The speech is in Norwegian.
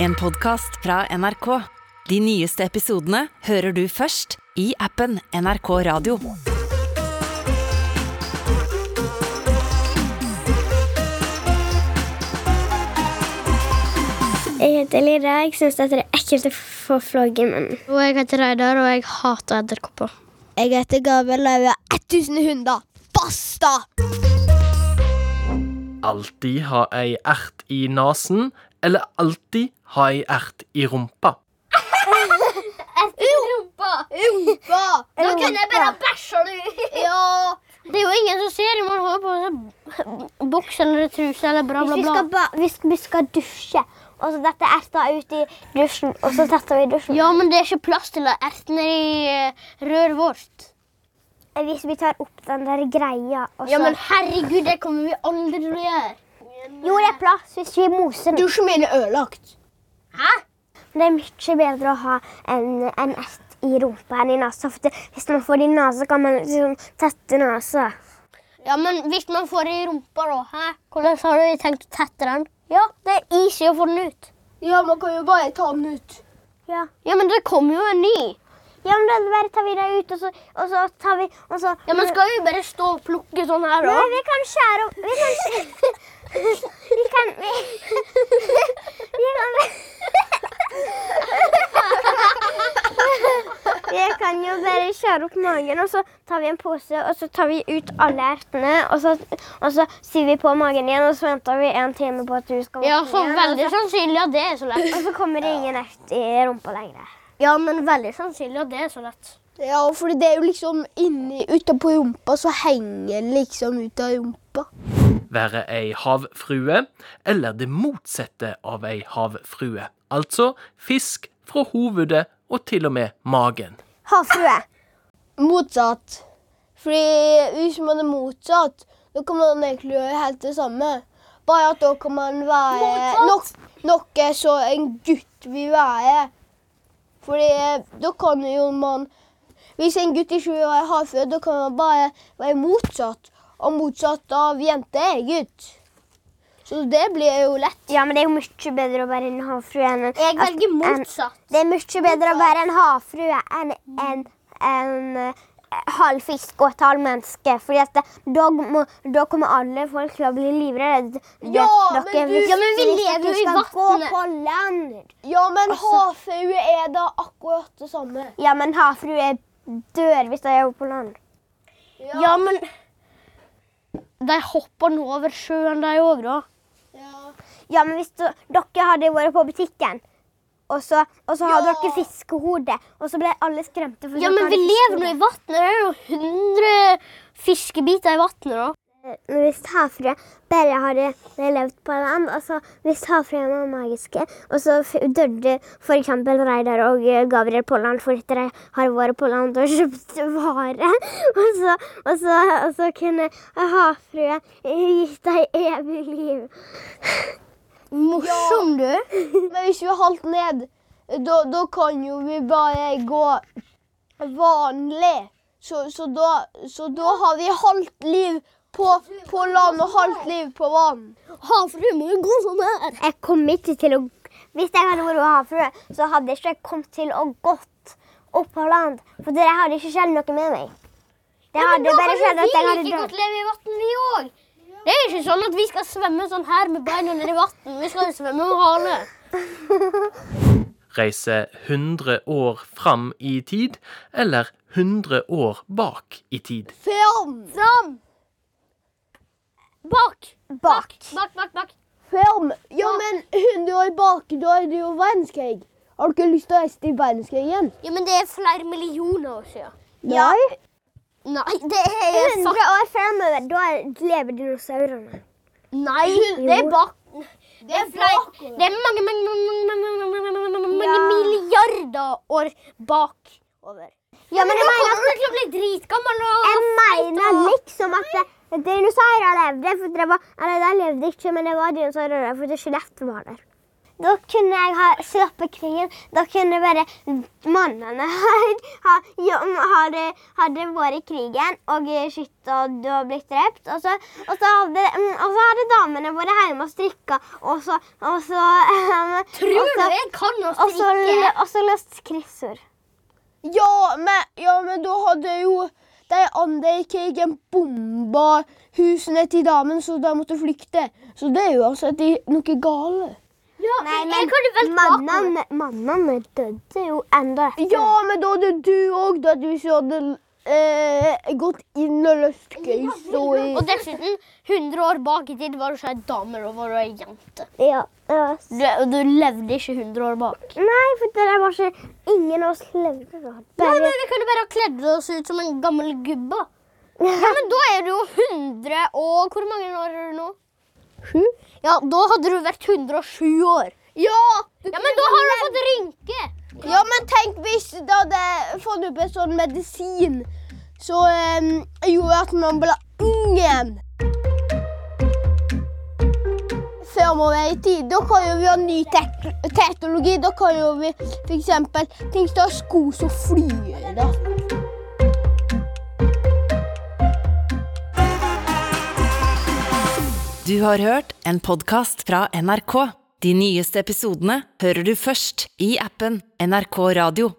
En podcast fra NRK. De nyeste episodene hører du først i appen NRK Radio. Jeg heter Lira. Jeg syns det er ekkelt å få flåg i munnen. Og jeg heter Reidar, og jeg hater edderkopper. Jeg heter Gabriel, og jeg vil ha 1000 hunder. Basta! alltid ha ei ert i nesen, eller alltid ha ei ert i rumpa. Rumpa! Nå kunne jeg bare bæsja du Ja. Det er jo ingen som ser om man har på seg b- boks eller truse eller bla, Hvis bla, vi bla. skal, ba- hvis vi skal dusje, og så detter erta ut i dusjen, og så setter vi i dusjen Ja, men det er ikke plass til at ertene i eh, røret vårt. Eh, Hvis vi tar opp den der greia og så... Ja, men herregud, det kommer vi aldri til å gjøre. Jo, det er plass hvis vi moser den. Dusjen min er ødelagt. Hæ? Det er mye bedre å ha en, en ert i rumpa enn i nesa. For det, hvis man får det i nesa, kan man liksom tette nesa. Ja, men hvis man får det i rumpa, da? Hæ? Hvordan har du tenkt å tette den? Ja, det er is i å få den ut. Ja, man kan jo bare ta den ut. Ja. Ja, men det kommer jo en ny. Ja, men da bare tar vi det ut, og så, og så tar vi og så, Ja, men skal vi bare stå og plukke sånn her, da? Nei, vi kan skjære opp Vi kan skjære Vi kan Vi, vi kan Vi kan jo bare skjære opp magen, og så tar vi en pose, og så tar vi ut alle ertene, og så, og så syr vi på magen igjen, og så venter vi en time på at du skal Ja, våkne så igjen, og veldig sannsynlig at det er så lett. Og så kommer det ingen ert i rumpa lenger. Ja, men veldig sannsynlig at det er så lett. Ja, for det er jo liksom inni Utapå rumpa så henger det liksom ut av rumpa. Være ei havfrue, eller det motsatte av ei havfrue. Altså fisk fra hovedet og til og med magen. Havfrue. Motsatt. Fordi hvis man er motsatt, da kan man egentlig gjøre helt det samme. Bare at da kan man være nok, noe så en gutt vil være. Fordi da kan jo man Hvis en gutt ikke vil være havfrue, da kan man bare være motsatt. Og motsatt av jente er gutt. Så det blir jo lett. Ja, men det er jo mye bedre å være en havfrue enn en Jeg velger en- motsatt. Det er mye bedre å være en havfrue enn en, en eh, halv fisk og et halvt menneske. Fordi at det, da, må, da kommer alle folk til å bli livredde. Ja, Det- men dere du- visste Ja, men ikke vi at lever jo du i skal vattnet. Gå på land. Ja, men Altså- havfrue er da akkurat det samme. Ja, men havfrue dør hvis de er på land. Ja, men De hopper nå over sjøen, de òg, da. Ja, men hvis du, dere hadde vært på butikken, og så, og så har dere fiskehode, og så ble alle skremte. for Ja, dere men hadde vi lever fiskehode. nå i vannet. Det er jo 100 fiskebiter i vannet, da. Men Hvis havfrue bare hadde levd på land, altså hvis havfruene var magiske, og så f- døde f.eks. Reidar og eh, Gabriel på land fordi de har vært på land og kjøpt varer, og så, og så, og så kunne havfrue gitt dem evig liv. Morsom, du. Men hvis vi er halvt ned, da, da kan jo vi bare gå vanlig. Så, så, da, så da har vi halvt liv på, på land og halvt liv på vann. Havfrue må jo gå sånn her. Jeg kom ikke til å Hvis jeg hadde vært havfrue, så hadde jeg ikke kommet til å gått opp på land, for det hadde ikke skjedd noe med meg. Det hadde bare skjedd at jeg hadde Vi like dødd. godt leve i vann, vi òg. Det er ikke sånn at vi skal svømme sånn her med beina ned i vann. Vi skal jo svømme med hale. Reise 100 år fram i tid, eller 100 år bak i tid. Fram! Fram! Bak. Bak. Bak, bak, bak. Fram! Ja, men 100 år bak, da er det jo verdenskrig. Har du ikke lyst til å reise til verdenskrigen? Ja, men det er flere millioner år siden. Ja. Nei, det er 100 år fremover, da lever dinosaurene. Nei, det er bak. Det er, flere, det er mange, mange, mange, mange, mange, mange, mange, mange milliarder år bak. Ja, men jeg Da mener, kommer du til å bli dritgammel og jeg mener liksom at det- dinosaurer levde, for det var, eller de levde ikke, men det var dinosaurer der, for det skjelett var der. Da kunne jeg ha sluppet krigen. Da kunne bare mannene ha, ha, jo, hadde, hadde vært i krigen og skutt og du har blitt drept. Og så, og så, hadde, mm, og så hadde damene vært hjemme og strikka, og så, og så Tror og du så, jeg kan altså, å og så, strikke? og så løst kryssord. Ja, men, ja, men da hadde jo de andre i krigen bomba husene til damen, så de måtte flykte. Så det er jo altså at de, noe galt. Ja, men jeg kunne velt bakover. mannene, mannene døde jo enda etter. Ja, men da hadde du òg dødd hvis du hadde eh, gått inn og løst køysa i Og dessuten, 100 år bak i tid var sånn du ikke ei dame, da var du ei jente. Ja, ja. Du, og du levde ikke 100 år bak. Nei, for det var ikke Ingen av oss levde da. Nei, Bare men Vi kunne bare ha kledd oss ut som en gammel gubbe. Ja, men da er du jo 100 og Hvor mange år er du nå? sju. Ja, Da hadde du vært 107 år. Ja! Ja, Men da har du fått rynke. Ja, men tenk hvis det hadde fått opp en sånn medisin som eh, gjorde at man ble ung igjen. Fremover i tid, da kan jo vi ha ny tek teknologi. Da kan jo vi f.eks. tenk deg sko som flyr. da. Du har hørt en podkast fra NRK. De nyeste episodene hører du først i appen NRK Radio.